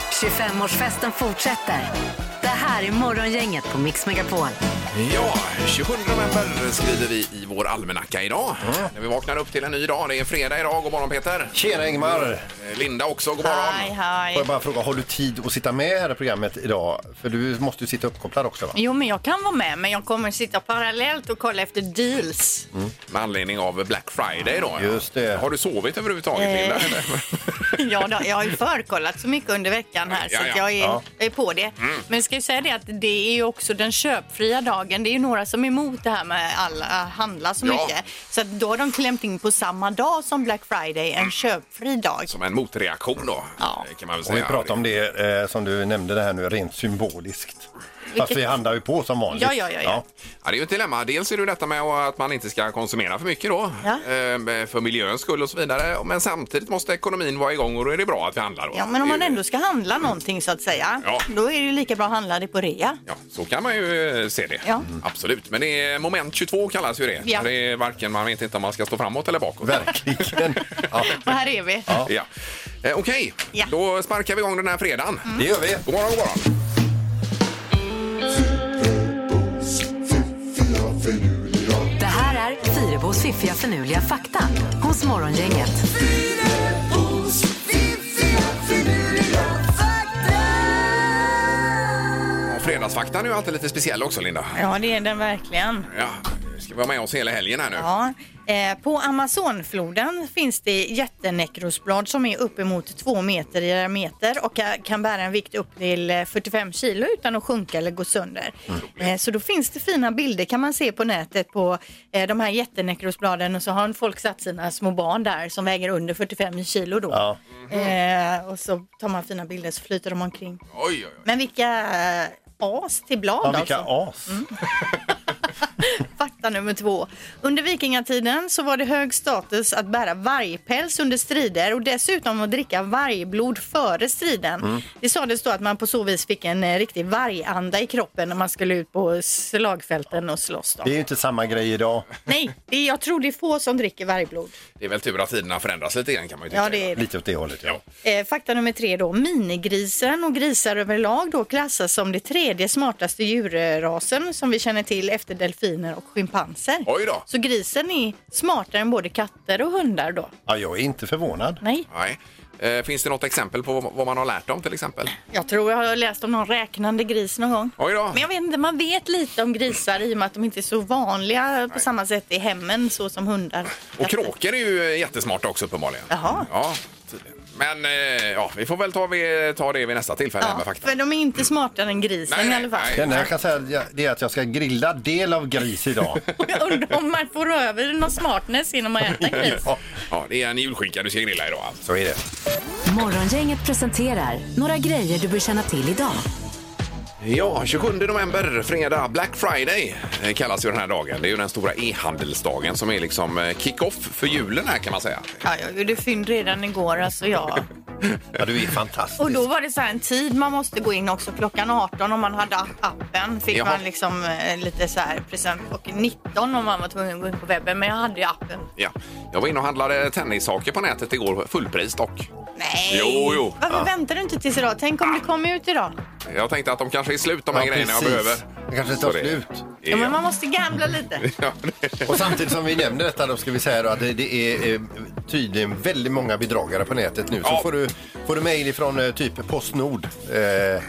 25-årsfesten fortsätter. Det här är Morgongänget på Mix Megapol. Ja, 27 november skriver vi i vår almanacka idag. Mm. När vi vaknar upp till en ny dag. Det är fredag idag. God morgon Peter. Tjena Ingmar! Eh, Linda också, god morgon. Hej, Får hej. jag bara fråga, har du tid att sitta med här i programmet idag? För du måste ju sitta uppkopplad också va? Jo, men jag kan vara med, men jag kommer sitta parallellt och kolla efter deals. Med anledning av Black Friday då. Just det. Har du sovit överhuvudtaget Eh. Linda? eller? Ja, då, jag har ju förkollat så mycket under veckan här, så Ja, Mm. ja. att jag, är, Ja. jag är på det. Men jag ska ju säga det att det är ju också den köpfria dagen. Det är ju några som är emot det här med alla handla så Ja. mycket. Så att då har de klämt in på samma dag som Black Friday, en köpfri dag. Som en motreaktion då. eh, Ja. Kan man väl Och vi säga. pratar om det eh, som du nämnde det här nu, rent symboliskt. Fast vi handlar ju på som vanligt. Ja, ja, ja, ja. Ja, det är ju ett dilemma. Dels är det ju detta med att man inte ska konsumera för mycket då. Ja. Eh, För miljöns skull och så vidare. Men samtidigt måste ekonomin vara igång och då är det bra att vi handlar. Då. Ja, men om man Det är ju- ändå ska handla någonting så att säga, Ja. då är det ju lika bra att handla det på rea. Ja, så kan man ju eh, se det. Ja. Mm. Absolut. Men det är moment 22 kallas ju det. Ja. Det är varken, man vet inte om man ska stå framåt eller bakåt. Verkligen. Ja, Och här är vi. Ja. Eh, Okej, Ja. då sparkar vi igång den här fredagen. Mm. det gör vi. God morgon, god morgon. Det här är Fyrebos fiffiga förnuliga fakta hos Morgongänget. Och Fredagsfaktan är ju alltid lite speciell också, Linda. Ja, det är den verkligen. Ja. Ska vi vara med oss hela helgen här nu? Ja, eh, på Amazonfloden finns det jättenekrosblad som är uppemot två meter i diameter och ka- kan bära en vikt upp till eh, 45 kilo utan att sjunka eller gå sönder. Mm. Eh, så då finns det fina bilder kan man se på nätet på eh, de här jättenekrosbladen och så har folk satt sina små barn där som väger under 45 kilo då. Ja. eh, och så tar man fina bilder så flyter de omkring. Oj, oj, oj. Men vilka eh, as till blad Ja, vilka as. alltså. Fakta nummer två. Under vikingatiden så var det hög status att bära vargpäls under strider och dessutom att dricka vargblod före striden. Det sades då att man på så vis fick en eh, riktig varganda i kroppen när man skulle ut på slagfälten och slåss. Då. Det är ju inte samma grej idag. Nej, det är, jag tror det är få som dricker vargblod. Det är väl tur att tiderna förändras lite grann kan man ju tycka. Ja, det är det. Lite åt det hållet ja. Eh, fakta nummer tre då. Minigrisen och grisar överlag då klassas som det tredje smartaste djurrasen som vi känner till efter delfiner och schimpanser. Oj då. Så grisen är smartare än både katter och hundar då? ja. Jag är inte förvånad. Nej. Nej. Eh, finns det något exempel på vad man har lärt dem till exempel? Jag tror jag har läst om någon räknande gris någon gång. Oj då. Men jag vet inte, man vet lite om grisar i och med att de inte är så vanliga på samma sätt i hemmen så som hundar. Och kråkor är ju jättesmarta också uppenbarligen. Jaha. Ja, tydligen. Men eh, ja, vi får väl ta, vi, ta det vid nästa tillfälle här Ja, med fakta. för de är inte smartare än grisen Nej, i nej, alla fall. Det enda jag kan säga att jag- det är att jag ska grilla del av gris idag. Jag undrar om man får över någon smartness genom att äta gris. Ja, Ja, det är en julskinka du ska grilla idag alltså. så är det. Morgongänget presenterar några grejer du bör känna till idag. Ja, 27 november, fredag, Black Friday eh, kallas ju den här dagen. Det är ju den stora e-handelsdagen som är liksom eh, kick-off för julen här kan man säga. Ja, jag gjorde fynd redan igår alltså jag. Ja, du är Och fantastisk. då var det så här en tid man måste gå in också. Klockan 18 om man hade app- appen fick Jaha. man liksom eh, lite så här present. Och 19 om man var tvungen att gå in på webben. Men jag hade ju appen. Ja. Jag var inne och handlade tennissaker på nätet igår, fullpris dock. Nej! Jo, jo. Varför väntar du inte tills idag? Tänk om det kom ut idag? Jag tänkte att de kanske är slut de här Ja, grejerna jag precis. behöver. Det kanske Så tar det- slut. Ja, men man måste gambla lite. Ja, det- Och samtidigt som vi nämner detta då ska vi säga då att det, det är eh, tydligen väldigt många bedragare på nätet nu. Så Ja. får du, får du mejl ifrån eh, typ Postnord eh,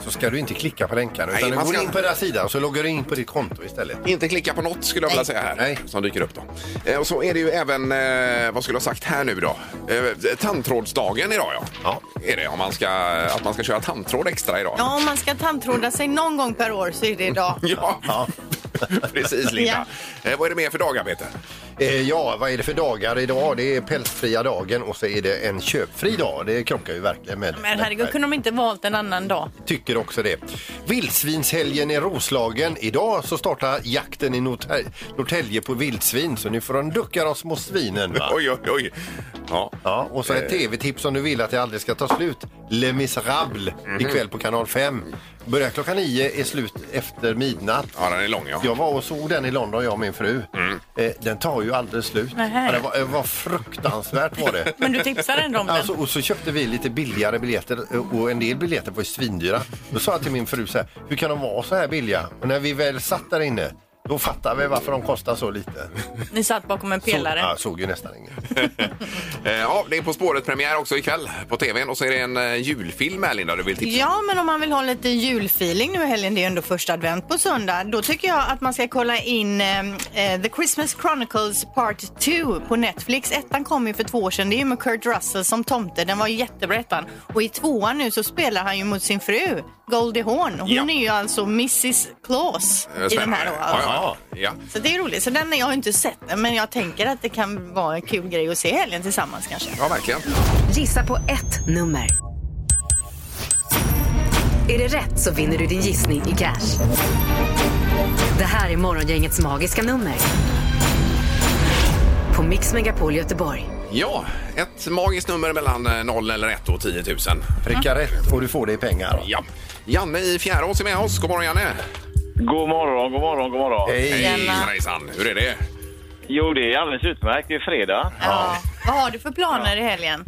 så ska du inte klicka på länkarna Nej, utan du man går ska- in på deras sida och så loggar du in på ditt konto istället. Inte klicka på något skulle jag vilja säga här. Nej. Som dyker upp då. Eh, Och så är det ju även, eh, vad skulle jag ha sagt här nu då? Eh, tandtrådsdagen idag ja. Ja. Är det om man ska, att man ska köra tandtråd extra idag. Ja, om man ska tandtråda sig någon gång per år så är det idag. Ja, precis Linda. Eh, vad är det mer för dagarbete? Eh, ja, vad är det för dagar idag? Det är pälsfria dagen och så är det en köpfri dag. Det krockar ju verkligen med. Men herregud, kunde de inte valt en annan dag? Tycker också det. Vildsvinshelgen i Roslagen. Idag så startar jakten i Norrtälje Norrtälje på vildsvin så nu får de ducka de små svinen. Va? Oj, oj, oj. Ja. Ja, och så ett Eh. tv-tips om du vill att det aldrig ska ta slut. Les Misérables Mhm. ikväll på kanal 5. Börjar klockan 9, är slut efter midnatt. ja, Mm. den är lång ja. Jag var och såg den i London, jag och min fru. Eh, den tar ju aldrig slut. Nähä. Ja, det, var, det var fruktansvärt var det. Men du tipsar ändå om Alltså, den. och så köpte vi lite billigare biljetter eh, och en del biljetter var ju svindyra. Då sa jag till min fru så här, hur kan de vara så här billiga? Och när vi väl satt där inne, då fattar vi varför de kostar så lite. Ni satt bakom en Så, ja, pelare. såg ju nästan inget. Eh, Ja, det är På spåret-premiär också ikväll på tvn och så är det en eh, julfilm här Linda du vill tipsa Ja, men om man vill ha lite julfeeling nu i helgen, det är ju ändå första advent på söndag, då tycker jag att man ska kolla in ehm, eh, The Christmas Chronicles Part 2 på Netflix. Ettan kom ju för två år sedan, det är ju med Kurt Russell som tomte, den var ju jättebra ettan. Och i tvåan nu så spelar han ju mot sin fru, Goldie Hawn. Hon Ja. är ju alltså Mrs Claus Eh, i den här spännande. då. Ja, ja, ja. Så det är roligt. Så den jag har inte sett den, men jag tänker att det kan vara en kul grej att se i helgen tillsammans kanske. ja, verkligen. Gissa på ett nummer. Är det rätt så vinner du din gissning i cash. Det här är Morgongängets magiska nummer. På Mix Megapol Göteborg. Ja, ett magiskt nummer mellan eh, 0 eller 1 och 10 000. Pricka rätt och du får det i pengar. Ja. Janne i Fjärås är med oss. God morgon Janne! God morgon, god morgon, god morgon. Hej! Hejsan, hejsan! Hur är det? Jo, det är alldeles utmärkt. Det är fredag. Ja. Vad har du för planer i helgen?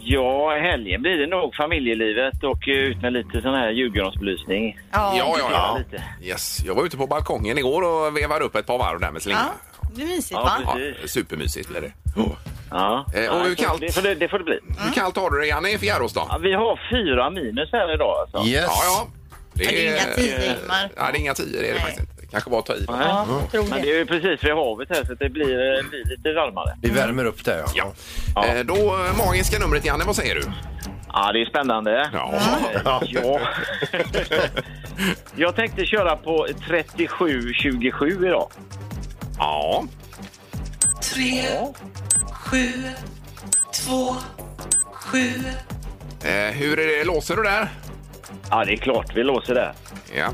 Ja, helgen blir det nog familjelivet och eh, ut med lite sån här julgransbelysning. Ja, ja, Ja, ja. lite. Yes. Jag var ute på balkongen igår och vevade upp ett par varv där med slingan. Ja, det blir mysigt Ja, va? precis. Ja, supermysigt blev det. Ja. Eh, och Ja, hur så kallt? Det får det, det, får det bli. Hur kallt har du det Janne i Fjärås då? Ja, vi har fyra minus här idag alltså. Yes! Ja, ja. Men det är inga tio timmar. Nej, det är inga tio, det är det Nej. faktiskt inte. Det kanske bara att ta i. Nej. Ja, tror Men det. det är ju precis vid havet här så det blir, eh, blir lite varmare. Vi värmer upp där ja. Ja. Eh, Då eh, magiska numret Janne, vad säger du? Ja, det är spännande. Ja. Eh, ja. Jag tänkte köra på 37-27 idag. Ja. Eh, Hur är det, låser du där? Ja, det är klart vi låser det. Ja.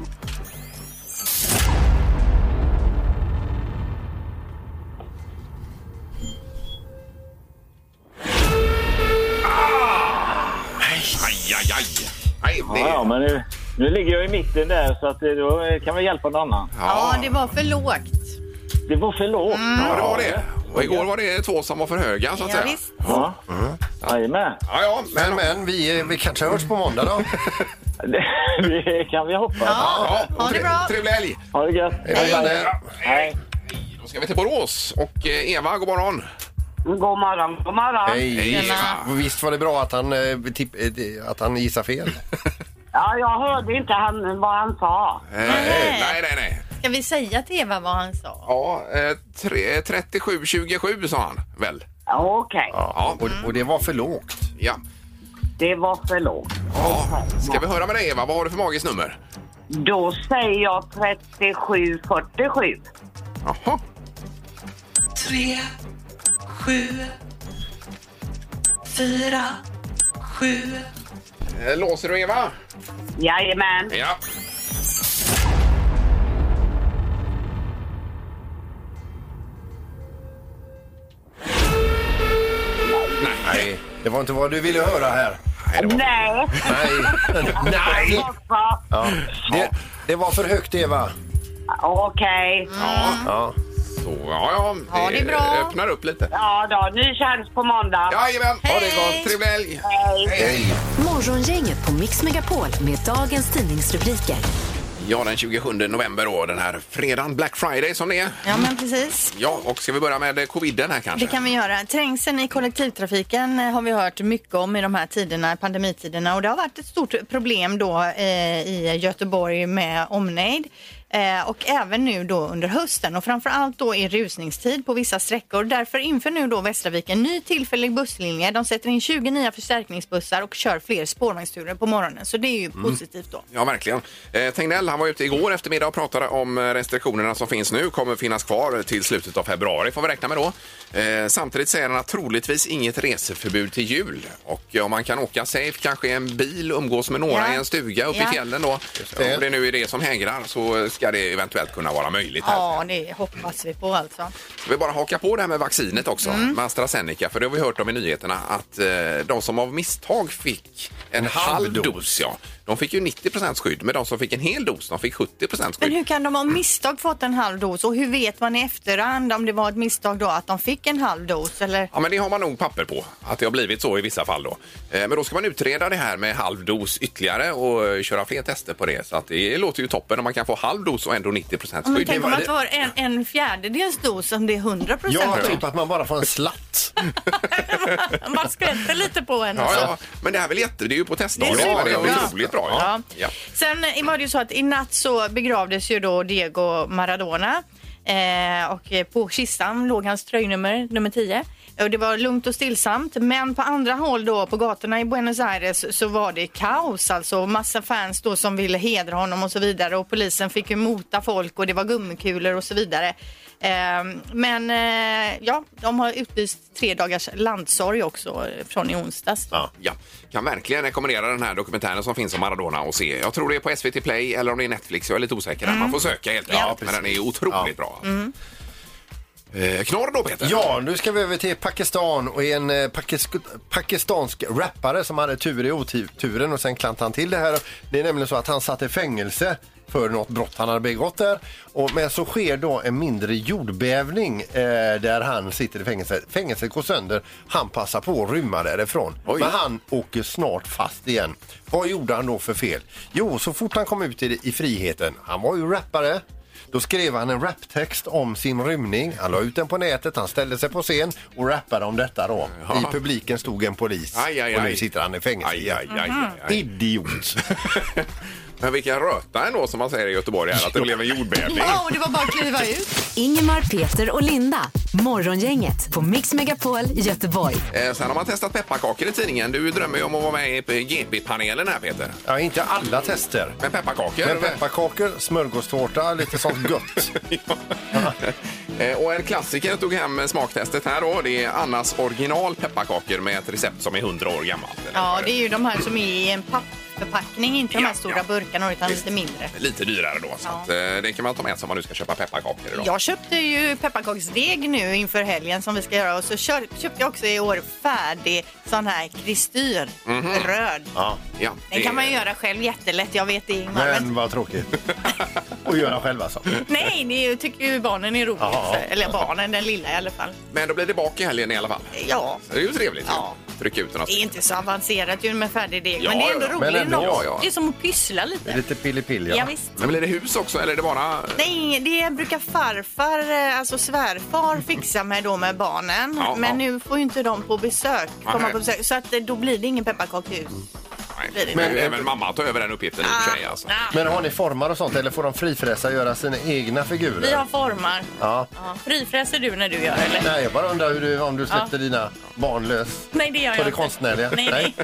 Ah! Aj, aj, aj. Nej, det... Ja, ja, men nu, nu ligger jag i mitten där så att eh, då eh, kan vi hjälpa någon annan. Ja, det var för lågt. Det var för lågt. Ja, det var det. Och igår var det två som var för höga, så att Ja, säga. visst. Ja. Jajamän. Ja, ja, men... Men, men vi, vi kanske hörs på måndag då. Det kan vi hoppas. Ja, Ha det tre- bra. Trevlig helg! Ha det gött. Hej, Janne. Hej. Då ska vi till Borås och eh, Eva, god morgon! God morgon, god morgon. Hej! Tjena. Och Visst var det bra att han, eh, tipp, eh, att han gissade fel? Ja, jag hörde inte han, vad han sa. Eh, nej, nej, nej. Ska vi säga till Eva vad han sa? Ja, eh, tre- 37-27 sa han väl? Ja, Okej, Ja. Och, och det var för lågt. Ja. det var för lågt. ja. Ska vi höra med dig Eva, vad har du för magiskt nummer? Då säger jag 3747. Jaha. Eh, Låser du Eva? Jajamän. Ja. Nej, det var inte vad du ville höra här. Nej, det var... Nej, Nej. Nej. vad sa- Ja. Det, det var för högt, Eva. Okej. Ja. Så, ja, ja. Ha det bra. öppnar upp lite. Ja då, ny chans på måndag. Jajamän, ha det Hej. gott. Trevlig helg. Hej. Hej. Morgongänget på Mix Megapol med dagens tidningsrubriker. Ja, den 27 november då, den här fredagen, Black Friday som det är. Ja, men precis. Ja, och ska vi börja med eh, coviden här kanske? Det kan vi göra. Trängseln i kollektivtrafiken eh, har vi hört mycket om i de här tiderna, pandemitiderna och det har varit ett stort problem då eh, i Göteborg med omnejd. Eh, och även nu då under hösten och framförallt då i rusningstid på vissa sträckor. Därför inför nu då Västervik en ny tillfällig busslinje. De sätter in 20 nya förstärkningsbussar och kör fler spårvagnsturer på morgonen. Så det är ju positivt då. Ja, verkligen. Eh, Tegnell han var ute igår eftermiddag och pratade om eh, restriktionerna som finns nu kommer finnas kvar till slutet av februari får vi räkna med då. Eh, samtidigt säger han att troligtvis inget reseförbud till jul och ja, man kan åka safe kanske i en bil, umgås med några Ja. i en stuga uppe Ja. i fjällen då. det. Om det nu är det som hägrar så eh, ska det eventuellt kunna vara möjligt. Här. Ja, det hoppas vi på alltså. Ska vi bara haka på det här med vaccinet också, Mm. med AstraZeneca, för det har vi hört om i nyheterna att eh, de som av misstag fick en, halv, dos, ja, de fick ju 90 skydd, men de som fick en hel dos, de fick 70 Men skydd. hur kan de av misstag fått en halv dos och hur vet man i efterhand om det var ett misstag då att de fick en halv dos eller? Ja, men det har man nog papper på, att det har blivit så i vissa fall då. Eh, Men då ska man utreda det här med halv dos ytterligare och eh, köra fler tester på det. Så att det låter ju toppen om man kan få halv dos och ändå 90 Ja, Men skydd. tänk om Det- att det var en, en fjärdedels dos om det är 100 Ja, procent. typ att man bara får en slatt. Man skvätter lite på en. Ja, alltså. ja, men det här är väl jätte... Det är ju på teststadiet, Det är men det är superbra. otroligt bra. Ja. Ja. Sen eh, var det ju så att i natt så begravdes ju då Diego Maradona. Eh, och eh, på kistan låg hans tröjnummer, nummer 10. Och det var lugnt och stillsamt, men på andra håll då på gatorna i Buenos Aires så var det kaos. Alltså massa fans då som ville hedra honom och så vidare. Och polisen fick ju mota folk och det var gummikulor och så vidare. Eh, men eh, ja, de har utlyst tre dagars landsorg också eh, från i onsdags. Ja. ja. Kan verkligen rekommendera den här dokumentären som finns om Maradona och se. Jag tror det är på SVT Play eller om det är Netflix. Jag är lite osäker. där. Man får Mm. söka helt enkelt. men den är otroligt bra. Eh, knorr då Peter? Ja, nu ska vi över till Pakistan och en eh, pakis- pakistansk rappare som hade tur i oturen och sen klantade han till det här. Det är nämligen så att han satt i fängelse för något brott han hade begått där. Och, men så sker då en mindre jordbävning eh, där han sitter i fängelse. Fängelset går sönder, han passar på att rymma därifrån. Oj. Men han åker snart fast igen. Vad gjorde han då för fel? Jo, så fort han kom ut i, i friheten, han var ju rappare, då skrev han en raptext om sin rymning. Han la ut den på nätet, han ställde sig på scen och rappade om detta då. Ja. I publiken stod en polis Aj, aj, och aj. nu sitter han i fängelse. Mm. Aj, aj, aj, aj, aj. Idiot! Men vilken röta ändå som man säger i Göteborg här, att det blev en jordbävning. Ja, och det var bara att kliva ut. Ingemar, Peter och Linda. Morgongänget på Mix Megapol i Göteborg. Eh, sen har man testat pepparkakor i tidningen. Du drömmer ju om att vara med i eh, GP-panelen här Peter. Ja, inte alla tester. Men pepparkakor? Men pepparkakor, smörgåstårta, lite sånt gött. Eh, Och en klassiker tog hem smaktestet här då. Det är Annas original pepparkakor med ett recept som är 100 år gammalt. Ja, det är ju de här som är i en pappförpackning, inte de Ja, här stora ja. burkarna utan Visst. lite mindre. Lite dyrare då. Så Ja. att, eh, det kan man ta med sig om man nu ska köpa pepparkakor idag. Jag köpte ju pepparkaksdeg nu inför helgen som vi ska göra och så kör, köpte jag också i år färdig sån här kristyr, Mhm. röd. Ja. Ja, Den det- kan man ju göra själv jättelätt, jag vet det Ingmar. Men Men... vad tråkigt. Och göra själv alltså. Nej, det är ju- tycker ju barnen är roligt. Ja. Eller barnen, den lilla i alla fall. Men då blir det bak i helgen i alla fall. Ja, Så det är ju trevligt. Ja. ju. Trycka ut den. det är inte så avancerat ju med färdig deg, Ja, men det är ändå ja, ja. roligt. Men ändå. Ja, ja. Det är som att pyssla Det är lite. Lite pillipilli. Ja, visst. Men blir det hus också eller är det bara... Nej, det brukar farfar, eh, alltså svärfar, fixa med då med barnen. Ja, men ja. nu får ju inte de på besök, komma Nej. på besök. Så att eh, då blir det ingen pepparkakshus. Nej. det- Ah, Men även mamma tar över den uppgiften i och för sig. Alltså. Men har ni formar och sånt eller får de frifräsa och göra sina egna figurer? Vi har formar. Ja. Ja. Frifräser du när du gör eller? Nej, jag bara undrar hur du, om du släppte dina barnlös Nej, det gör på jag det inte. konstnärliga. Nej, nej.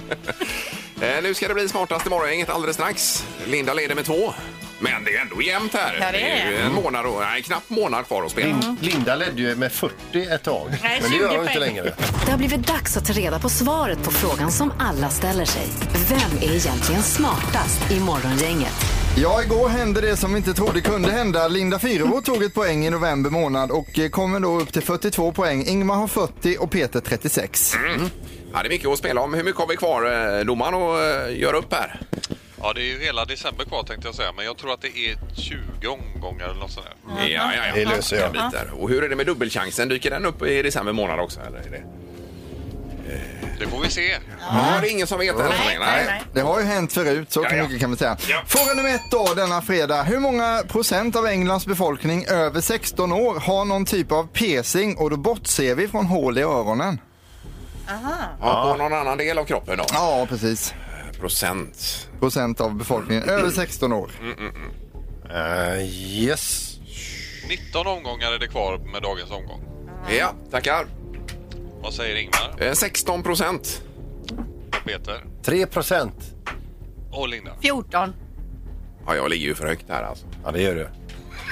ah. Eh, nu ska det bli smartast i morgon, inget alldeles strax. Linda leder med två. Men det är ändå jämnt här. Ja, det ju är det. Mm. en månad och, nej, knapp månad kvar att spela. Lin- Linda ledde ju med 40 ett tag. Nej, men det gör 20 hon inte poäng. längre. Det har blivit dags att ta reda på svaret på frågan som alla ställer sig. Vem är egentligen smartast i Morgongänget? Ja, igår hände det som vi inte trodde kunde hända. Linda Fyrebo tog ett poäng i november månad och eh, kommer då upp till 42 poäng. Ingmar har 40 och Peter 36. Ja, det är mycket att spela om. Hur mycket har vi kvar, eh, domaren, och eh, gör upp här? Ja, det är ju hela december kvar tänkte jag säga, men jag tror att det är 20 omgångar eller något sånt där. Ja, ja, ja. Det löser jag. En bit där. Och hur är det med dubbelchansen? Dyker den upp i december månad också? Eller är det? Eh, Det får vi se. Ja, det är ingen som vet än. så länge. nej. Det har ju hänt förut, så Ja, ja. mycket kan vi säga. Ja. Fråga nummer ett då, denna fredag. Hur många procent av Englands befolkning över 16 år har någon typ av piercing och då bortser vi från hål i öronen? Ja, på någon annan del av kroppen då? Ja, precis. Procent. Procent av befolkningen över 16 år. Mm. Eh, yes. 19 omgångar är det kvar med dagens omgång. Ja, tackar. Vad säger Ingmar Eh, 16 procent. och Peter 3 procent. och Linda? 14. Ja, jag ligger ju för högt här alltså. Ja, det gör du.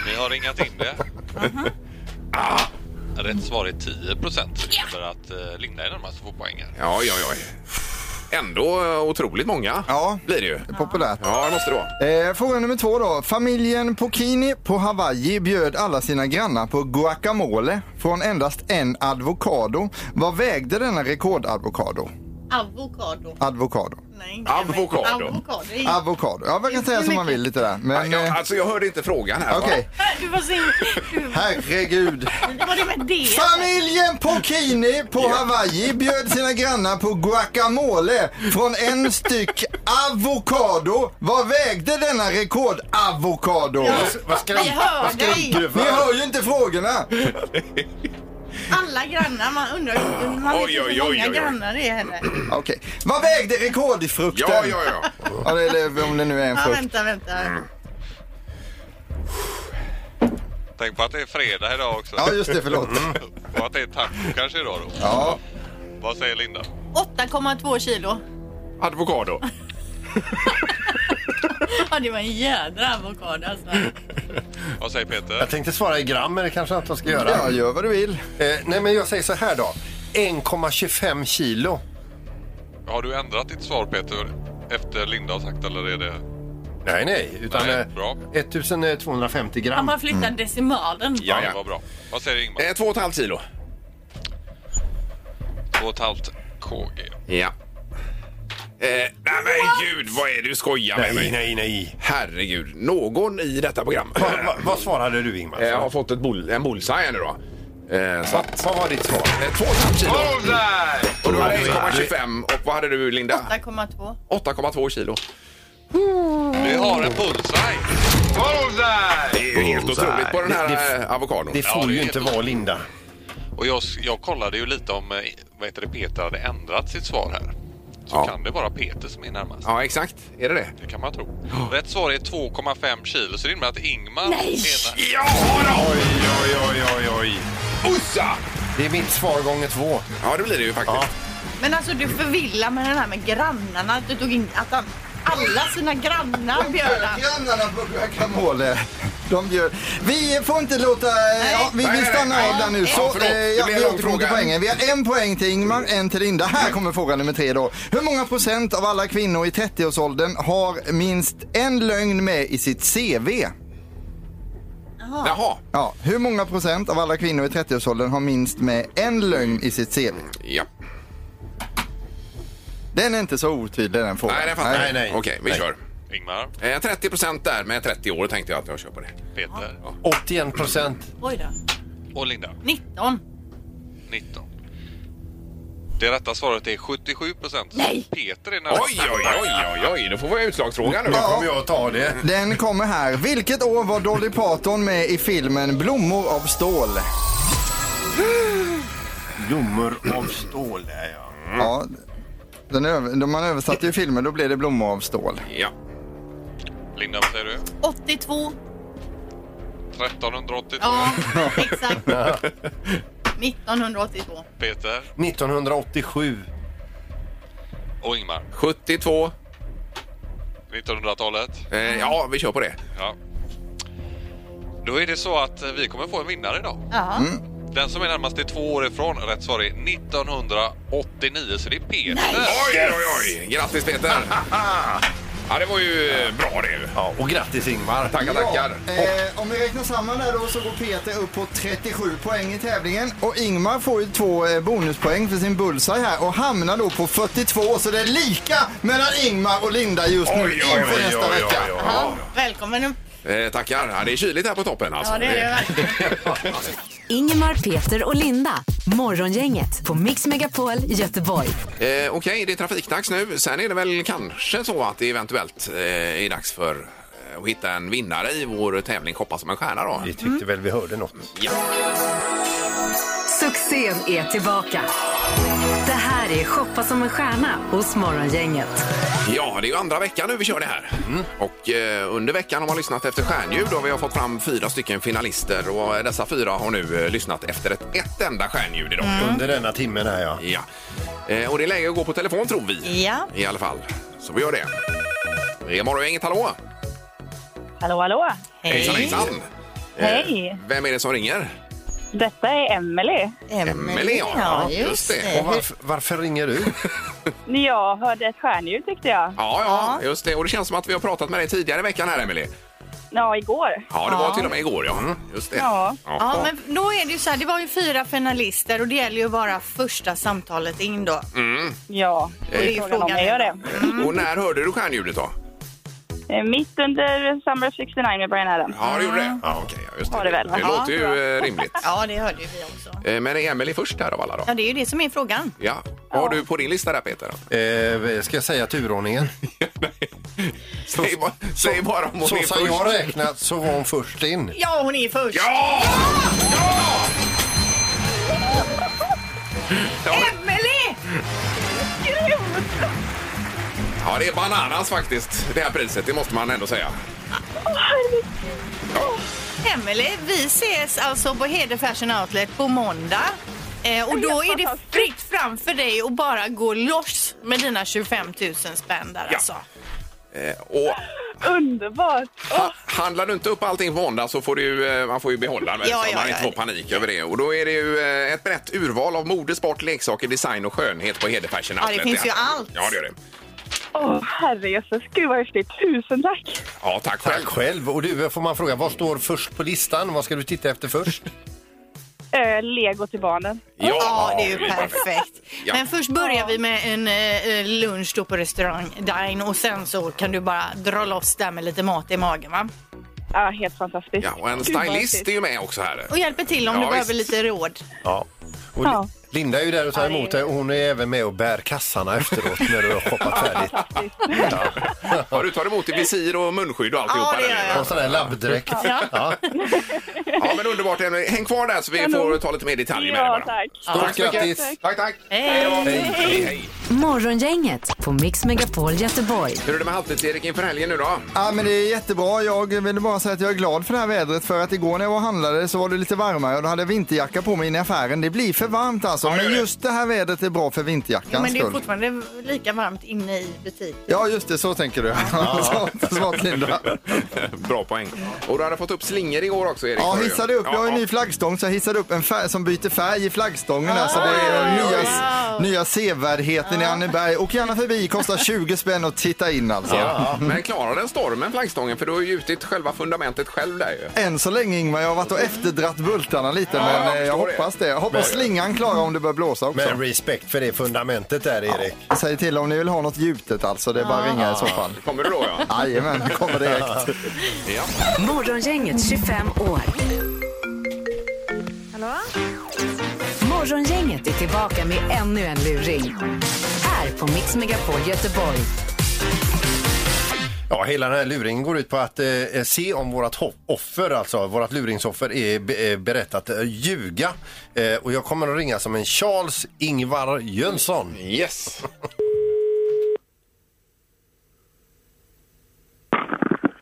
Ni har ringat in det. ah. Rätt svar är 10 procent, så det innebär att eh, Linda är närmast att få poäng här. Ja, ja, ja. Ändå eh, otroligt många Ja. blir det ju. Populärt. Ja, det måste det vara. Eh, fråga nummer två då. Familjen Pocchini på Hawaii bjöd alla sina grannar på guacamole från endast en avokado. Vad vägde denna rekordavokado? Avokado. Avokado. Nej. Avokado. Avokado. Avokado. Ja, man kan säga som man vill lite där. Men, Ja, eh, alltså jag hörde inte frågan här. va? okej. Du var så himla... Herregud. Du- Var det med det? Familjen Pocchini på Hawaii bjöd sina grannar på guacamole från en styck avokado. Vad vägde denna rekordavokado? Vad ska Vi hör dig. Ni hör ju inte frågorna. Alla grannar, man undrar ju- man vet Oj, ju oj, hur oj, många oj, Mm. oj. grannar det är henne. Okej. Vad vägde rekordfrukten? Ja, ja, ja. Ja, Eller om det nu är en Ja, frukt. vänta, vänta. Mm. Tänk på att det är fredag idag också. Ja, just det. Förlåt. Mm. Och att det är taco kanske idag då. Ja. Vad säger Linda? 8,2 kilo. Avokado. Ja, det var en jädra avokado alltså. Mm. Vad säger Peter? Jag tänkte svara i gram, men det kanske jag inte ska göra. ja, gör vad du vill. Eh, nej, men jag säger så här då. 1,25 kilo. Har du ändrat ditt svar Peter? Efter Linda har sagt eller är det... Nej, nej. Utan Nej, eh, bra. 1250 Han gram. bara flyttar decimalen. Ja, det ja. var bra. Vad säger Ingmar? Eh, två och ett halvt kilo. Två och ett halvt KG. Ja. Eh, nej men gud, vad är det du skojar med mig? nej, nej. Herregud, någon i detta program Vad, vad, vad svarade du, Ingmar? eh, har fått ett bull, en bullseye här nu då. Eh, så vad, att, vad var ditt svar? eh, två och ett halvt kilo. Och du hade 1,25 och vad hade du Linda? 8,2. 8,2 kilo. Vi har en bullseye! Det är ju helt Bullseye. otroligt på den Det- här eh, avokadon. Det får det ju är inte helt- vara Linda. Och jag, jag kollade ju lite om eh, vad heter det, Peter hade ändrat sitt svar här. Så Ja. kan det vara Peter som är närmast. Ja exakt, är det det? Det kan man tro. Rätt svar är 2,5 kilo så det innebär att Ingmar Nej! är när- Ja då! Oj, oj, oj, oj, oj. Ossa! Det är mitt svar gånger två. Ja det blir det ju faktiskt. Ja. Men alltså du förvillar med den här med grannarna. Att du tog in att han, alla sina grannar bjöd han. Grannarna på guacamole. De gör. Vi får inte låta... Ja, vi, Nej, vi nej, stannar nej. av där nu. Ja, Så, förlåt. eh, Det ja, blir vi en lång återkommer till fråga. poängen. Vi har en poäng till Ingmar, en till Linda. Här kommer fråga nummer tre då. Hur många procent av alla kvinnor i 30-årsåldern har minst en lögn med i sitt CV? Jaha. Ja, hur många procent av alla kvinnor i 30-årsåldern har minst med en lögn i sitt CV? Ja. Den är inte så otydlig den frågan. Nej, det fattar jag. Nej, nej. Okej, vi Nej. kör. Ingmar, Eh, 30 procent där med 30 år tänkte jag att jag kör på det. Peter 81 procent. Oj då. och Linda. 19. 19. Det rätta svaret är 77 procent. Nej. Peter är närmast. Oj, oj, oj, oj, oj. Då får vi utslagsfråga nu. Nu kommer jag att ta det. Den kommer här. Vilket år var Dolly Parton med i filmen Blommor av stål? Blommor av stål är jag. Mm. Ja, den över, de- man översatte ju filmen, då blev det Blommor av stål. Ja. Linda, vad säger du? 82. 1382. Ja, exakt. 1982. Peter 1987. och Ingmar. 72. 1900-talet. Eh, ja, vi kör på det. Ja. Då är det så att eh, vi kommer få en vinnare idag. Ja. Mm. Den som är närmast är två år ifrån. Rätt svar är 1989, så det är Peter. Oj, oj, oj. Grattis Peter. Ja, det var ju eh, bra det. Ja, och grattis Ingmar. Tackar, tackar. Ja, eh, om vi räknar samman där då så går Peter upp på 37 poäng i tävlingen och Ingmar får ju två eh, bonuspoäng för sin bullseye här och hamnar då på 42 så det är lika mellan Ingmar och Linda just nu inför nästa vecka. Ja, välkommen upp. Eh, tackar. Ja, det är kyligt här på toppen alltså. Ja, det är det verkligen. Ingemar, Peter och Linda. Morgongänget på Mix Megapol Göteborg. Eh, Okej, det är trafikdags nu. Sen är det väl kanske så att det eventuellt eh, är dags för eh, att hitta en vinnare i vår tävling Shoppa som en stjärna då. Vi tyckte väl vi hörde något. Succén är tillbaka. Det här är Shoppa som en stjärna hos Morgongänget. Ja, det är ju andra veckan nu vi kör det här. Och eh, under veckan har man lyssnat efter stjärnljud och vi har fått fram fyra stycken finalister och dessa fyra har nu eh, lyssnat efter ett, ett enda stjärnljud idag. Under denna timmen här ja. Ja. Eh, och det är läge att gå på telefon tror vi. Ja. I alla fall. Så vi gör det. Det är morgongänget, hallå! Hallå, hallå! Hejsan, hejsan! Eh, Hej. Vem är det som ringer? Detta är Emelie. Emelie, ja. Ja, just det. Eh, Och varför, varför ringer du? Jag hörde ett stjärnljud tyckte jag. Ja, ja, just det. Och det känns som att vi har pratat med dig tidigare i veckan här, Emelie. Ja, igår. Ja, det var till och med igår, ja. Mm, Just det. Ja. Ja, men då är det ju så här, det var ju fyra finalister och det gäller ju bara första samtalet in då. Mm. Ja, Och det är ju frågan om frågan. jag gör det. Och när hörde du stjärnljudet då? Eh, Mitt under Summer of 69 med Brian Adams. Ja, det gjorde det. Ja, okej, ja, just det. Var det väl? Ja, låter ju eh, rimligt. Ja, det hörde ju vi också. Eh, Men är Emelie först här av alla då? Ja, det är ju det som är frågan. Ja. Vad har du på din lista där, Peter? Då? Eh, ska jag säga turordningen? Säg, bara, säg bara om hon Så är som jag först. räknat så var hon först in. Ja, hon är först. Ja! Ja! Ja, det- Emelie! ja, det är bananas faktiskt, det här priset. Det måste man ändå säga. Emelie, vi ses alltså på Hede Fashion Outlet på måndag. Eh, och då är det fritt fram för dig att bara gå loss med dina 25 000 spänn där Ja. alltså. Eh, Och Underbart! ha, handlar du inte upp allting på måndag så får du, ju, eh, man får ju behålla det Ja, så ja, man ja. inte får panik över det. Och då är det ju eh, ett brett urval av mode, sport, leksaker, design och skönhet på Hede Fashion det Outlet. finns ju allt. Ja, det gör det. Åh, herrejösses. Gud vad häftigt. Tusen tack! Ja, tack själv. Tack själv. Och du, eh, får man fråga, vad står först på listan? Vad ska du titta efter först? Eh, Lego till barnen. Ja, det är ju perfekt. Ja. Men först börjar vi med en eh, lunch då på restaurang Dine och sen så kan du bara dra loss där med lite mat i magen va? Ja, helt fantastiskt. Ja, och en Gud, vad stylist häftigt. är ju med också här. Och hjälper till om Ja, du behöver visst. lite råd. Ja. Och Ja. Linda är ju där och tar det är- emot dig och hon är även med och bär kassarna efteråt när du har shoppat färdigt. Fantastiskt. Ja, du tar emot i visir och munskydd och alltihopa. Ja, det där gör nu. Och en sån där labbdräkt. Ja. ja, men underbart. Emily. Häng kvar där så vi får ta lite mer detaljer med dig Ja, bara. tack. Stort grattis! Tack, tack. Hej. då. Hej, hej. Morgongänget på Mix Megapol Göteborg. Hur är det med halvtids-Erik inför helgen nu då? Ja, men det är jättebra. Jag vill bara säga att jag är glad för det här vädret för att igår när jag var och handlade så var det lite varmare och då hade jag vinterjacka på mig inne i affären. Det blir för varmt alltså, det gör men det. just det här vädret är bra för Ja, vinterjackans men det är skull. fortfarande lika varmt inne i butiken. Ja, just det, så tänker du. Smart- Smart Linda. Bra poäng. Och du hade fått upp slingor igår också, Erik. Ja, hörde jag. hissade upp. Jag har en Ja, ny flaggstång så jag hissade upp en färg som byter färg i flaggstången. Alltså, det är den nya, nya sevärdheten i Anneberg. Och gärna förbi, kostar 20 spänn att titta in alltså. ja. Men klarar den stormen, flaggstången? För du har ju gjutit själva fundamentet själv där ju. Än så länge Ingmar, jag har varit och efterdratt bultarna lite Ja, jag men eh, jag förstår det. hoppas det. Jag hoppas slingan klarar om det börjar blåsa också. Men respekt för det fundamentet där, Erik. Säg till om ni vill ha något gjutet alltså, det är bara att ringa i så fall. Kommer du då, ja? Jajamän, det kommer direkt. ja. Morgongänget 25 år. Hallå? Morgongänget är tillbaka med ännu en luring. Här på Mix Megapol Göteborg. Ja, hela den här luringen går ut på att eh, se om vårt ho- offer, alltså vårt luringsoffer, är be- eh, berett att eh, ljuga. Eh, och jag kommer att ringa som en Charles Ingvar Jönsson. Yes.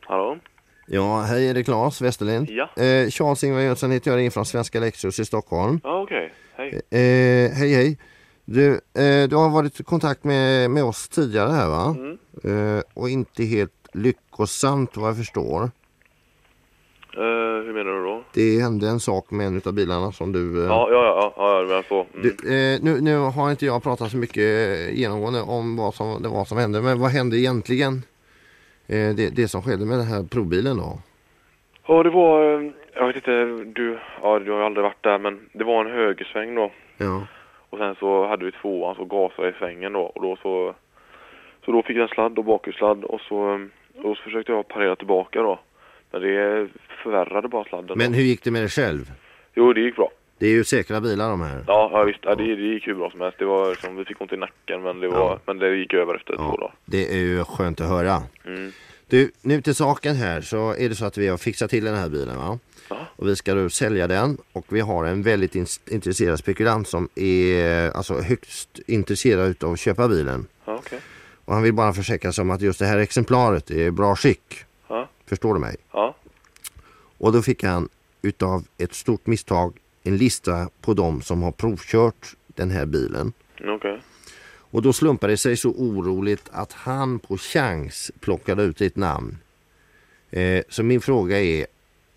Hallå? Ja, hej, är det Claes Westerlind? Ja. Eh, Charles-Ingvar Jönsson heter jag, ringer från Svenska Lexus i Stockholm. Ja, okej. Hej. Eh, hej, hej. Du, eh, du har varit i kontakt med, med oss tidigare här va? Eh, och inte helt lyckosamt vad jag förstår. Eh, hur menar du då? Det hände en sak med en av bilarna som du... Eh, Ja, ja, ja, ja, ja du menar så. Mm. du eh, nu, nu har inte jag pratat så mycket eh, genomgående om vad som, det var som hände, men vad hände egentligen? Eh, det, det som skedde med den här provbilen då? Ja, det var, eh, jag vet inte, du, ja, du har ju aldrig varit där, men det var en högersväng då. Ja, Och sen så hade vi tvåan så gasade i svängen då och då så, så då fick jag en sladd och bakhjulssladd och så, eh, och så försökte jag parera tillbaka då. Men det förvärrade bara sladden. men då. hur gick det med dig själv? Jo, det gick bra. Det är ju säkra bilar de här. Ja, ja visst, ja, det, det gick hur bra som helst. Det var som, vi fick ont i nacken men det, var, men det gick över efter två dagar. Det är ju skönt att höra. Mm. Du, nu till saken här så är det så att vi har fixat till den här bilen va? Och vi ska då sälja den och vi har en väldigt ins- intresserad spekulant som är alltså högst intresserad utav att köpa bilen. Ja, okej. Och han vill bara försäkra sig om att just det här exemplaret är i bra skick. Ja. Förstår du mig? Ja, Och då fick han utav ett stort misstag en lista på de som har provkört den här bilen. okej. Och då slumpade det sig så oroligt att han på chans plockade ut ditt namn. Eh, så min fråga är,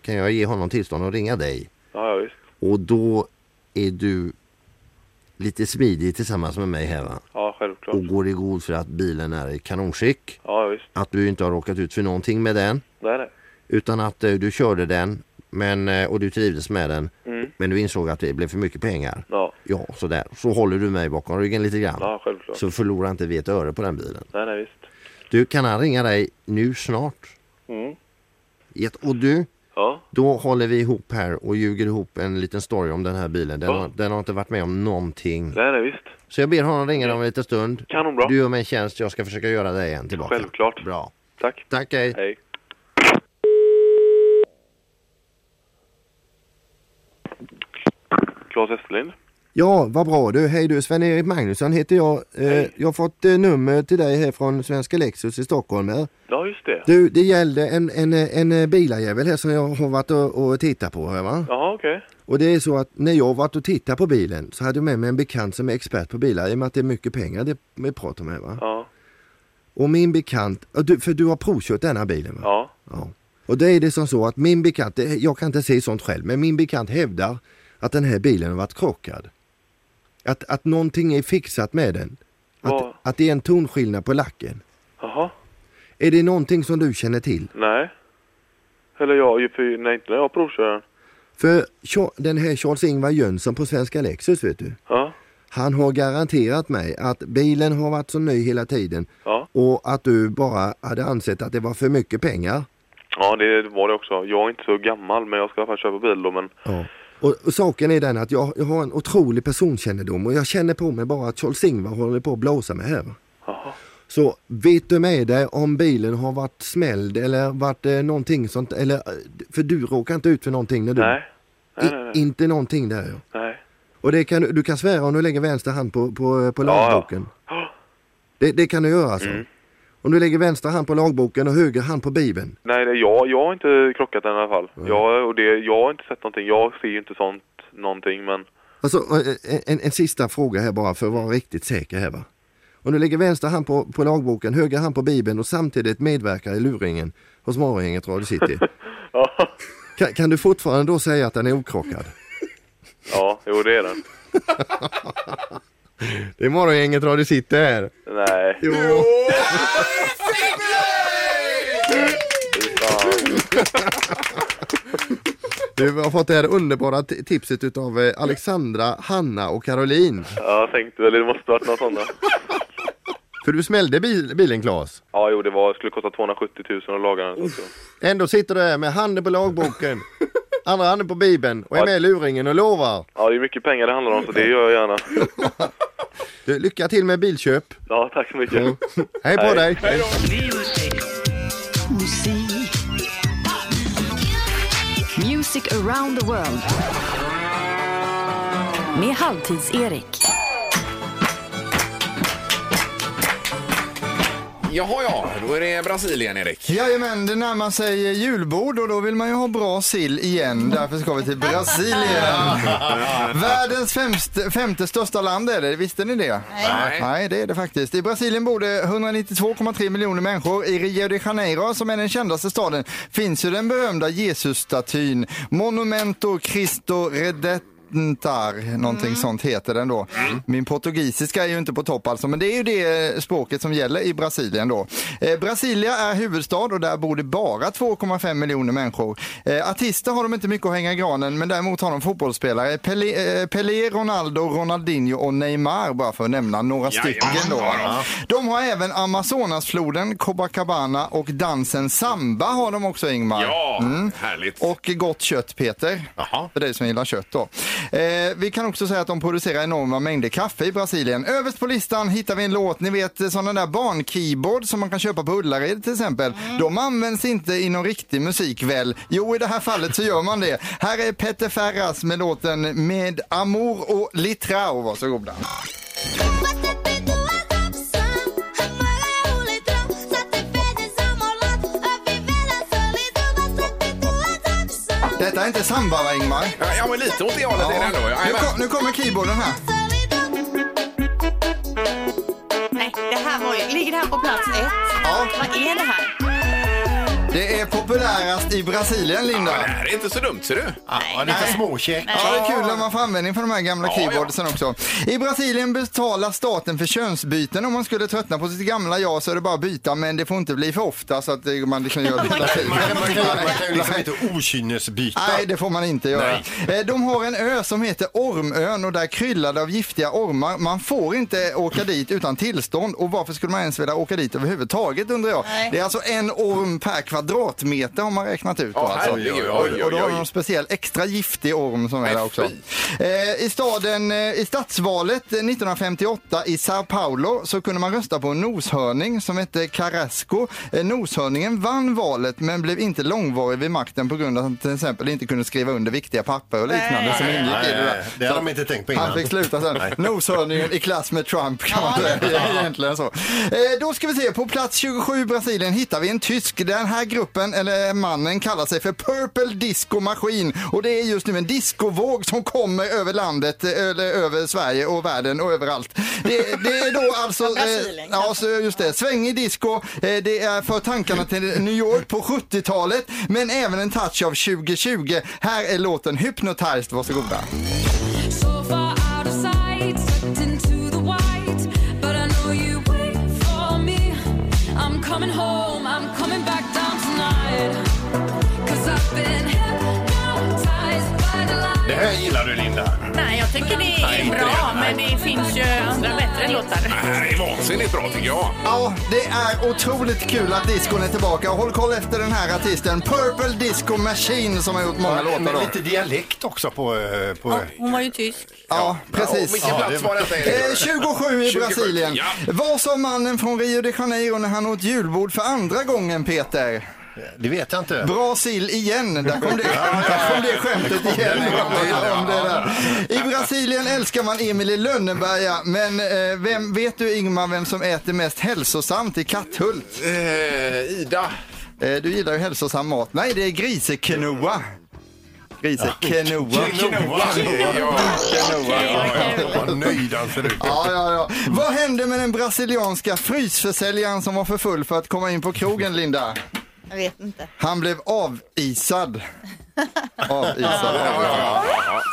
kan jag ge honom tillstånd att ringa dig? Ja, ja, visst. Och då är du lite smidig tillsammans med mig här va? Ja, Oh. självklart. Och går i god för att bilen är i kanonskick. Ja, visst. Att du inte har råkat ut för någonting med den. Nej, nej. Utan att eh, du körde den men, eh, och du trivdes med den. Mm. Men du insåg att det blev för mycket pengar. Ja. Ja, sådär. Så håller du mig bakom ryggen lite grann. Ja, självklart. Så förlorar inte vi ett öre på den bilen. Nej, nej, visst. Du, kan han ringa dig nu snart? Mm. Jätte- Och du, Ja. då håller vi ihop här och ljuger ihop en liten story om den här bilen. Den, Ja. har, den har inte varit med om någonting. Nej, nej, visst. Så jag ber honom ringa dig om en liten stund. Kanonbra. Du gör mig en tjänst, jag ska försöka göra dig en tillbaka. Självklart. Bra. Tack. Tack, hej. Hej. Claes Österlind. Ja, vad bra du. Hej du, Sven-Erik Magnusson heter jag. Eh, jag har fått eh, nummer till dig här från Svenska Lexus i Stockholm. Här. Ja, just det. Du, det gällde en, en, eh, en eh, bilarjävel här som jag har varit och, och tittat på. Här, va? Jaha, okej. Och det är så att när jag varit och tittat på bilen så hade jag med mig en bekant som är expert på bilar i och med att det är mycket pengar det vi pratar om här. Va? Ja. Och min bekant, och du, för du har provkört den här bilen va? Ja. Ja. Och det är det som så att min bekant, det- jag kan inte säga sånt själv, men min bekant hävdar att den här bilen har varit krockad. Att, att någonting är fixat med den. Vad- Att, att det är en tonskillnad på lacken. Jaha. Är det någonting som du känner till? Nej. Eller jag, för, nej, inte när jag provkör den. För Cha- den här Charles-Ingvar Jönsson på Svenska Lexus vet du. Ja. Han har garanterat mig att bilen har varit så ny hela tiden Ja. och att du bara hade ansett att det var för mycket pengar. Ja, det var det också. Jag är inte så gammal, men jag ska i alla fall köpa bil då, men... Ja. Och, och saken är den att jag, jag har en otrolig personkännedom och jag känner på mig bara att Charles-Ingvar håller på att blåsa mig här. Jaha. Så vet du med dig om bilen har varit smälld eller varit eh, någonting sånt eller eh, för du råkar inte ut för någonting när du... Nej. Nej, nej, nej. I, inte någonting där ja. Nej. Och det kan, du- du kan svära om du lägger vänster hand på, på, på Ja, ja. lagboken. Det, det kan du göra alltså. Om du lägger vänster hand på lagboken och höger hand på bibeln. Nej, det, jag, jag har inte krockat den i alla fall. Mm. Jag, och det, jag har inte sett någonting. Jag ser ju inte sånt någonting, men... Alltså, en, en, en sista fråga här bara för att vara riktigt säker här va. Om du lägger vänster hand på, på lagboken, höger hand på bibeln och samtidigt medverkar i luringen hos morgongänget Radio City. kan, kan du fortfarande då säga att den är okrockad? Ja, jo det är den. Det är morgongänget Radio City här. Nej. Jo. Fy fan. Du har fått det här underbara t- tipset utav eh, Alexandra, Hanna och Caroline. Ja, jag tänkte väl det måste varit något sånt där. För du smällde bil, bilen Claes. Ja, jo det var, skulle kosta 270 000 att laga den. Så. Ändå sitter du här med handen på lagboken, andra handen på bibeln och är med i luringen och lovar. Ja, det är mycket pengar det handlar om så det gör jag gärna. Du, lycka till med bilköp. Ja, tack så mycket. Hej på dig. Hej Musik. Music around the world. Med Halvtids-Erik. Jaha, ja. Då är det Brasilien, Erik. Jajamän, det närmar sig julbord och då vill man ju ha bra sill igen. Därför ska vi till Brasilien. Världens femte, femte största land är det, visste ni det? Nej. Nej, det är det faktiskt. I Brasilien bor det 192,3 miljoner människor. I Rio de Janeiro, som är den kändaste staden, finns ju den berömda Jesusstatyn Monumento Cristo Redentor. Någonting sånt heter den då. Min portugisiska är ju inte på topp alltså, men det är ju det språket som gäller i Brasilien då. Eh, Brasilia är huvudstad och där bor det bara 2,5 miljoner människor. Eh, artister har de inte mycket att hänga i granen, men däremot har de fotbollsspelare. Pelé, eh, Pelé Ronaldo, Ronaldinho och Neymar, bara för att nämna några stycken då. De har även Amazonasfloden, Copacabana och dansen samba har de också Ingmar. Ja, härligt. Mm. Och gott kött Peter, för dig som gillar kött då. Eh, vi kan också säga att de producerar enorma mängder kaffe i Brasilien. Överst på listan hittar vi en låt, ni vet sådana där barnkeyboard som man kan köpa på Ullared till exempel. De används inte inom riktig musik väl? Jo, i det här fallet så gör man det. Här är Peter Ferras med låten Med Amor och Litrao, varsågoda. Detta är inte samba va Ingmar? Ja, men lite åt det hållet är det ändå. Ja, nu, jajamän. kom, nu kommer keyboarden här. Nej, det här var ju... Ligger det här på plats ett? Ja. Vad är det här? Det är populärast i Brasilien, Linda. Ja, det här är inte så dumt, ser du. Ja, lite småkäck. Ja, det är kul när man får användning för de här gamla keyboardsen också. I Brasilien betalar staten för könsbyten. Om man skulle tröttna på sitt gamla jag så är det bara att byta, men det får inte bli för ofta så att eh, man liksom gör det hela tiden. Man kan, man kan, man kan ju liksom inte okynnesbyta. Nej, det får man inte göra. Eh, De har en ö som heter Ormön och där kryllar det av giftiga ormar. Man får inte åka dit utan tillstånd och varför skulle man ens vilja åka dit överhuvudtaget undrar jag. Nej. Det är alltså en orm per kvadratmeter har man räknat ut. då, Ja, alltså. herregud, oj, oj, Och då har oj. de en speciell extra giftig orm som är där också. Eh, I staden, eh, i stadsvalet eh, 1958 i Sao Paulo så kunde man rösta på en noshörning som hette Carrasco. Eh, noshörningen vann valet men blev inte långvarig vid makten på grund av att han till exempel inte kunde skriva under viktiga papper och liknande som Nej, ingick i det nej, där. det hade de inte tänkt på innan. Han fick sluta sen. Nej. Noshörningen i klass med Trump kan man säga. Egentligen så. Eh, då ska vi se, på plats 27 i Brasilien hittar vi en tysk. Den här gruppen, eller mannen, kallar sig för Purple Disco Machine. Och det är just nu en discovåg som kommer över landet, eh, eller över Sverige och världen och överallt. Det, det är då alltså... Eh, ja, så just det. Svängig disco. Eh, det är för tankarna till New York på 70-talet, men även en touch av 2020. Här är låten Hypnotized, varsågoda. So far out of sight, slipped into the white. But I know you wait for me. I'm coming home, I'm coming back down tonight. Cause I've been hypnotized by the light. Det här gillar du, Linda. Nej, jag tycker det Nej, är inte bra, det. men det finns ju andra bättre Det låtar. här är vansinnigt bra, tycker jag. Ja, det är otroligt kul att discon är tillbaka. Håll koll efter den här artisten, Purple Disco Machine, som har gjort många låtar. Men Då. lite dialekt också på... eh, på Hon var ju tysk. Ja, Ja, precis. vilken plats Ja, det- var detta, Erik? Eh, 27 i 27, Brasilien. ja. Vad sa mannen från Rio de Janeiro när han åt julbord för andra gången, Peter? Det vet jag inte. Bra sill igen. Där kom det, där kom det skämtet igen. en gång till Om det där. I Brasilien älskar man Emil Lönneberga, men eh, vem, vet du Ingmar vem som äter mest hälsosamt i Katthult? Eh, Ida. Eh, du gillar ju hälsosam mat. Nej, det är grisekenoa. Grisekenoa. Quinoa. Quinoa. Vad nöjd han ser ut. Ja, ja, ja. Vad hände med den brasilianska frysförsäljaren som var för full för att komma in på krogen, Linda? Jag vet inte. Han blev avisad. Ja, Avisad. ja, ja, ja.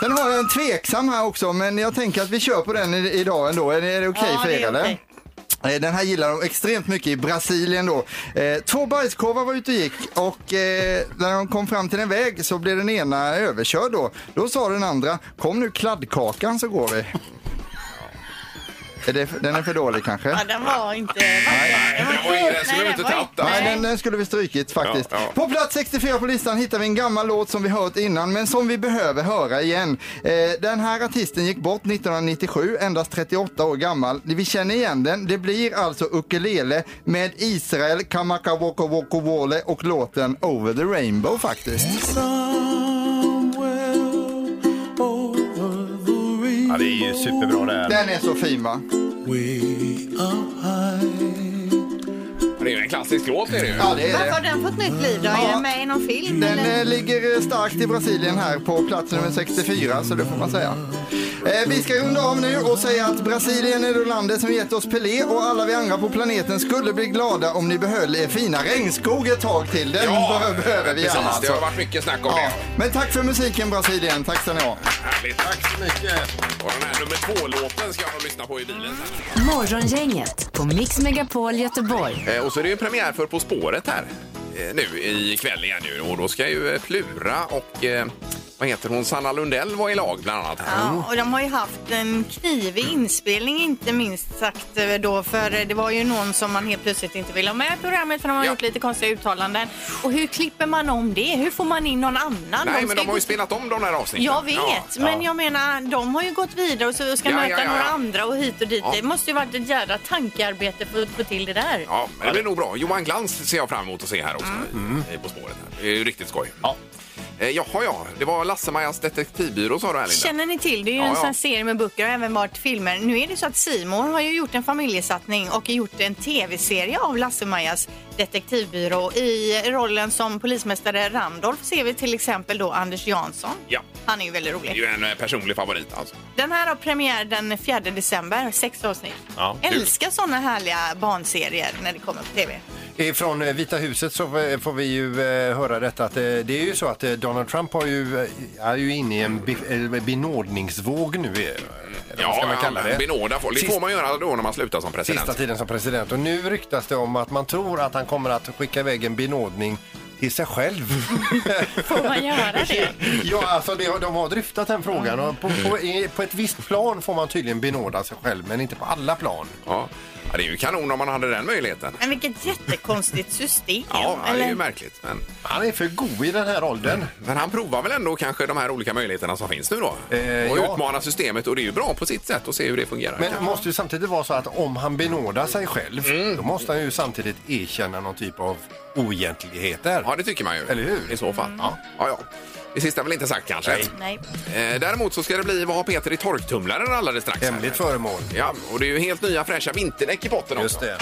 Sen har jag en tveksam här också, men jag tänker att vi kör på den i- idag ändå. Är det, är det okej Ja, för det är er eller? okej. Eh, Den här gillar de extremt mycket i Brasilien då. Eh, två bajskorvar var ute och gick och eh, när de kom fram till en väg så blev den ena överkörd då. Då sa den andra, kom nu kladdkakan så går vi. Är det, den är för dålig kanske? Ja, den var inte... Nej, den var ingen- den skulle vi inte tagit där. Nej, den, den skulle vi strykit faktiskt. Ja, ja. På plats 64 på listan hittar vi en gammal låt som vi hört innan men som vi behöver höra igen. Eh, den här artisten gick bort 1997, endast 38 år gammal. Vi känner igen den. Det blir alltså Ukulele med Israel, Kamaka Woko Woko Wole och låten Over the Rainbow faktiskt. Ja, det är ju superbra det här. Den är så fin va? Det är ju en klassisk låt, är det ju. Ja, det är Varför det. har den fått nytt liv då? Ja. Är den med i någon film? Den eller? eh, ligger eh, starkt i Brasilien här på plats nummer 64, så det får man säga. Eh, vi ska runda av nu och säga att Brasilien är det landet som gett oss Pelé och alla vi andra på planeten skulle bli glada om ni behöll er fina regnskog ett tag till. Den be- behöver vi precis. gärna. Det har Alltså. varit mycket snack om Ja. det. Men tack för musiken Brasilien, tack ska ni ha. Härligt. Tack så mycket. Och den här nummer två-låten ska jag lyssna på i bilen sen. Morgongänget på Mix Megapol Göteborg. Eh, Och så är det ju premiär för På spåret här eh, nu ikväll igen ju. Och då ska ju eh, Plura och eh, vad heter hon, Sanna Lundell vara i lag bland annat. Här. Ja, och de har ju haft en knivig inspelning inte minst sagt eh, då för det var ju någon som man helt plötsligt inte ville ha med i programmet för de har Ja. gjort lite konstiga uttalanden. Och hur klipper man om det? Hur får man in någon annan? Nej, men ska de har gå- ju spelat om de där avsnitten. Jag vet, men jag menar de har ju gått vidare och så ska Ja, möta ja, ja, några ja. andra och hit och dit. Ja. Det måste ju varit ett jädra tankearbete för att få till det där. Ja, men det blir nog bra. Johan Glans ser jag fram emot att se här också Mm. eh, Mm. På spåret. Här. Det är ju riktigt skoj. Ja. Jaha, ja. Det var Lasse-Majas detektivbyrå sa du här, Linda. Känner ni till? Det är ju Ja, en ja. sån här serie med böcker och även varit filmer. Nu är det så att Simon har ju gjort en familjesatsning och gjort en tv-serie av Lasse-Majas detektivbyrå. I rollen som polismästare Randolph ser vi till exempel då Anders Jansson. Ja. Han är ju väldigt Det är rolig. ju en eh, personlig favorit alltså. Den här har premiär den 4 december, sex avsnitt. Ja, kul. Älskar såna härliga barnserier när det kommer på tv. Från eh, Vita huset så eh, får vi ju eh, höra detta att eh, det är ju så att eh, Donald Trump har ju, eh, är ju inne i en bi- eller benådningsvåg nu. eh, eller vad Ja, ska man kalla det? benåda folk. Det får man göra då när man slutar som president. Sista tiden som president. Och nu ryktas det om att man tror att han kommer att skicka iväg en benådning till sig själv. Får man göra det? Ja, alltså det, har- de har dryftat den frågan och på, på, i- på ett visst plan får man tydligen benåda sig själv men inte på alla plan. Ja. ja, det är ju kanon om man hade den möjligheten. Men vilket jättekonstigt system. Ja, det är ju eller? märkligt. Men... Han är för god i den här åldern. Men han provar väl ändå kanske de här olika möjligheterna som finns nu då? och ja. utmanar systemet och det är ju bra på sitt sätt att se hur det fungerar. Men det måste ju samtidigt vara så att om han benådar sig själv Mm. då måste han ju samtidigt erkänna någon typ av oegentligheter. Ja, det tycker man ju. Eller hur? I så fall. Ja. ja, ja. Det sista är väl inte sagt kanske? Nej. Eh, Däremot så ska det bli vad har Peter i torktumlaren alldeles strax. Hemligt föremål. Ja, och det är ju helt nya fräscha vinterdäck i potten Just också. Det.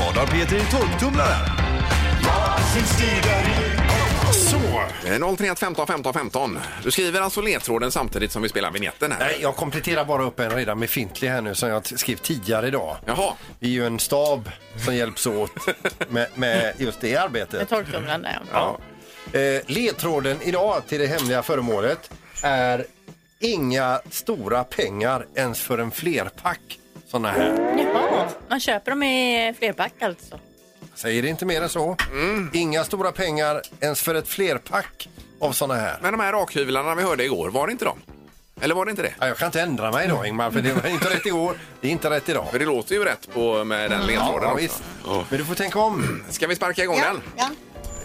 Vad har Peter i torktumlaren? Så! 031 15 15 15. Du skriver alltså ledtråden samtidigt som vi spelar vignetten här. Nej, jag kompletterar bara upp en redan befintlig här nu som jag t- skrev tidigare idag. Jaha. Vi är ju en stab som hjälps åt med, med just det arbetet. Med torktumlaren där, ja. Ja. Eh, ledtråden idag till det hemliga föremålet är inga stora pengar ens för en flerpack sådana här. Jaha, man köper dem i flerpack alltså. Säger det inte mer än så. Inga stora pengar ens för ett flerpack av sådana här. Men de här rakhyvlarna vi hörde igår, var det inte de? Eller var det inte det? Ja, jag kan inte ändra mig idag Ingmar, för det var inte rätt igår, det är inte rätt idag. För det låter ju rätt på, med den ledtråden Ja, också. visst. Men du får tänka om. Ska vi sparka igång den?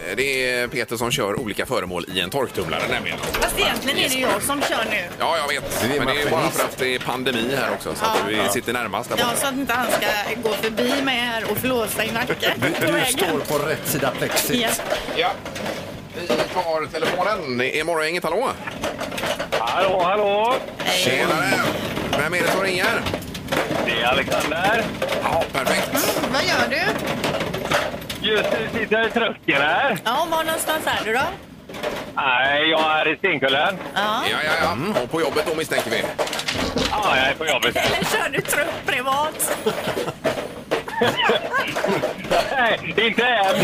Eh, Det är Peter som kör olika föremål i en torktumlare nämligen. Fast egentligen är det jag som kör nu. Ja, jag vet. Du är Men det är ju bara maskinist. för att det är pandemi här också så att Ja. vi Ja. sitter närmast där Ja, borta. så alltså att inte han ska gå förbi mig här och flåsa i nacken Du, på du vägen. står på rätt sida plexit. Ja. Ja. Vi tar telefonen. Det är Morgongänget, hallå? Hallå, hallå! Tjenare! Vem är det som ringer? Det är Alexander. Ja, perfekt. Vad gör du? Just nu sitter jag i tröskeln här. Ja, var någonstans är du då? Nej, jag är i Stenkullen. Ja. Ja, ja, ja. Och på jobbet då misstänker vi. Ja, Ah, jag är på jobbet. Eller kör du trupp privat? Nej, inte än.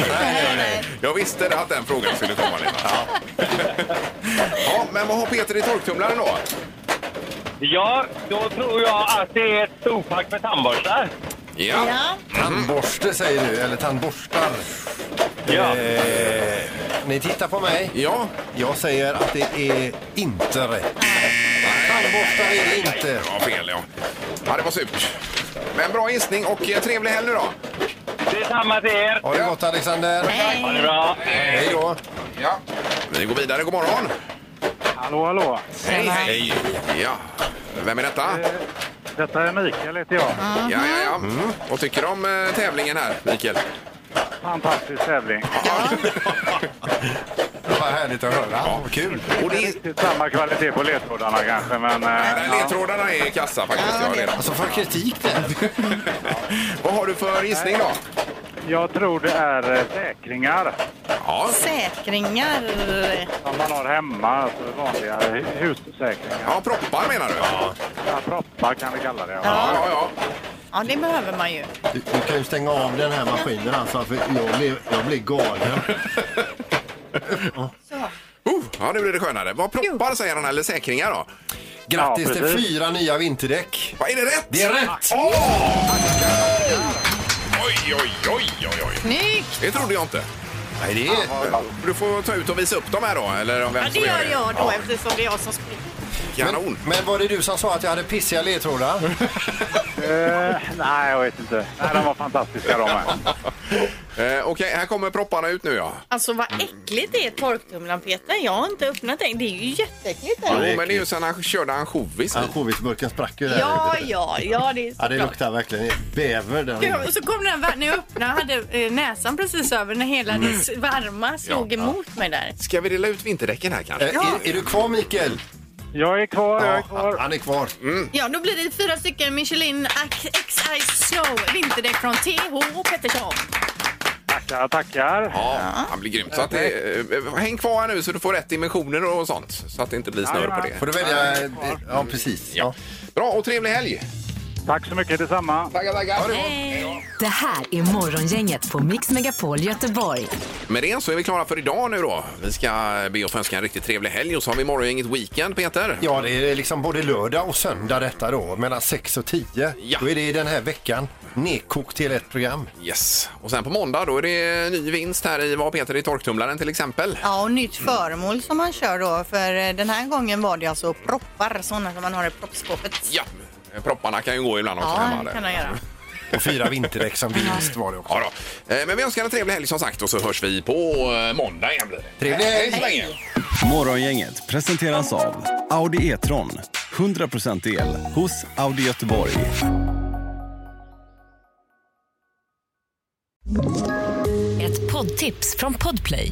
Jag visste att den frågan skulle komma Lena. Ja. men vad har Peter i torktumlaren då? Ja, då tror jag att det är ett storpack med tandborstar. Ja. Tandborste säger du, eller tandborstar. Ja. Eh, ni tittar på mig. Ja. Jag säger att det är inte rätt. Tandborstar är det inte. Ja, fel ja. Ja, det var surt. Men bra gissning och eh, trevlig helg nu då. Detsamma till er. Ha det gott Alexander. Ha det bra. Hej då. Ja. Vi går vidare. God morgon. Hallå, hallå. Hej, hej. Ja. Vem är detta? Detta är Mikael, heter jag. Ja, ja, ja. Vad tycker du om eh, tävlingen här, Mikael? Fantastisk tävling. Det var härligt att höra. Vad kul. Och det är Inte samma kvalitet på ledtrådarna kanske, men... eh, ja. Ledtrådarna är kassa faktiskt. Ja, redan. Alltså för kritik där. Vad har du för gissning då? Jag tror det är eh, säkringar Ja. Säkringar. som man har hemma, alltså vanliga hu- hussäkringar. ja, proppar menar du? Ja, Ja, proppar kan vi kalla det. Ja. ja. ja. Ja, det behöver man ju. Du, du kan ju stänga av den här maskinen alltså, för jag blir, jag blir galen. Oh, ja, nu blir det skönare. Vad proppar säger han, eller säkringar då? Grattis till precis. fyra nya vinterdäck. Vad är det rätt? Det är rätt! Oj, oj, oj, oj, oj. Snyggt! Det trodde jag inte. Nej, det är... Du får ta ut och visa upp dem här då, eller om vem Ja, det som gör jag då Ja, eftersom det är jag som springer. Kanon. Men var det du som sa att jag hade pissiga ledtrådar? Eh, nej, jag vet inte. Nej, de var fantastiska de med. Eh, Okej, här kommer propparna ut nu ja. Alltså vad äckligt det är torktumlaren Peter. Jag har inte öppnat den. Det är ju jätteäckligt. Jo, eller? men det är ju sen han körde ansjovis. Ansjovisburken sprack ju där. Ja, ja, ja det är Ja, det såklart. luktar verkligen bäver där Ja, inne. och så kom den här, när jag öppnade hade eh, näsan precis över när hela det s- varma slog Ja, ja. emot mig där. Ska vi dela ut vinterdäcken här kanske? Eh, Är, är du kvar Mikael? Jag är kvar, jag är Han, kvar. han är kvar. Ja, då blir det fyra stycken Michelin Ac- X Ice Snow vinterdäck från TH Pettersson. Tackar, tackar. Ja, han blir grymt. Så att det, eh, häng kvar här nu så du får rätt dimensioner och sånt. Så att det inte blir snurr på det. Får du välja? eh, Ja, precis. Ja. Bra, och trevlig helg! Tack så mycket, detsamma. Tackar, tackar. Det här är Morgongänget på Mix Megapol Göteborg. Med det så är vi klara för idag nu då. Vi ska be att få önska en riktigt trevlig helg och så har vi morgongänget weekend, Peter. Ja, det är liksom både lördag och söndag detta då, mellan 6 och 10. Då är det den här veckan nedkokt till ett program. Yes. Och sen på måndag då är det ny vinst här i vad Peter i torktumlaren till exempel. Ja, och nytt föremål som man kör då. För eh, den här gången var det alltså proppar, sådana som man har i proppskåpet. Ja, propparna kan ju gå ibland också. Ja, hemma det där. kan jag göra. Och fyra vinterdäck som vinst var det också. Ja då. Eh, Men vi önskar en trevlig helg som sagt och så hörs vi på eh, måndag igen. blir det. Trevlig helg! så länge. Morgongänget presenteras av Audi E-tron. 100% el hos Audi Göteborg. Ett poddtips från Podplay.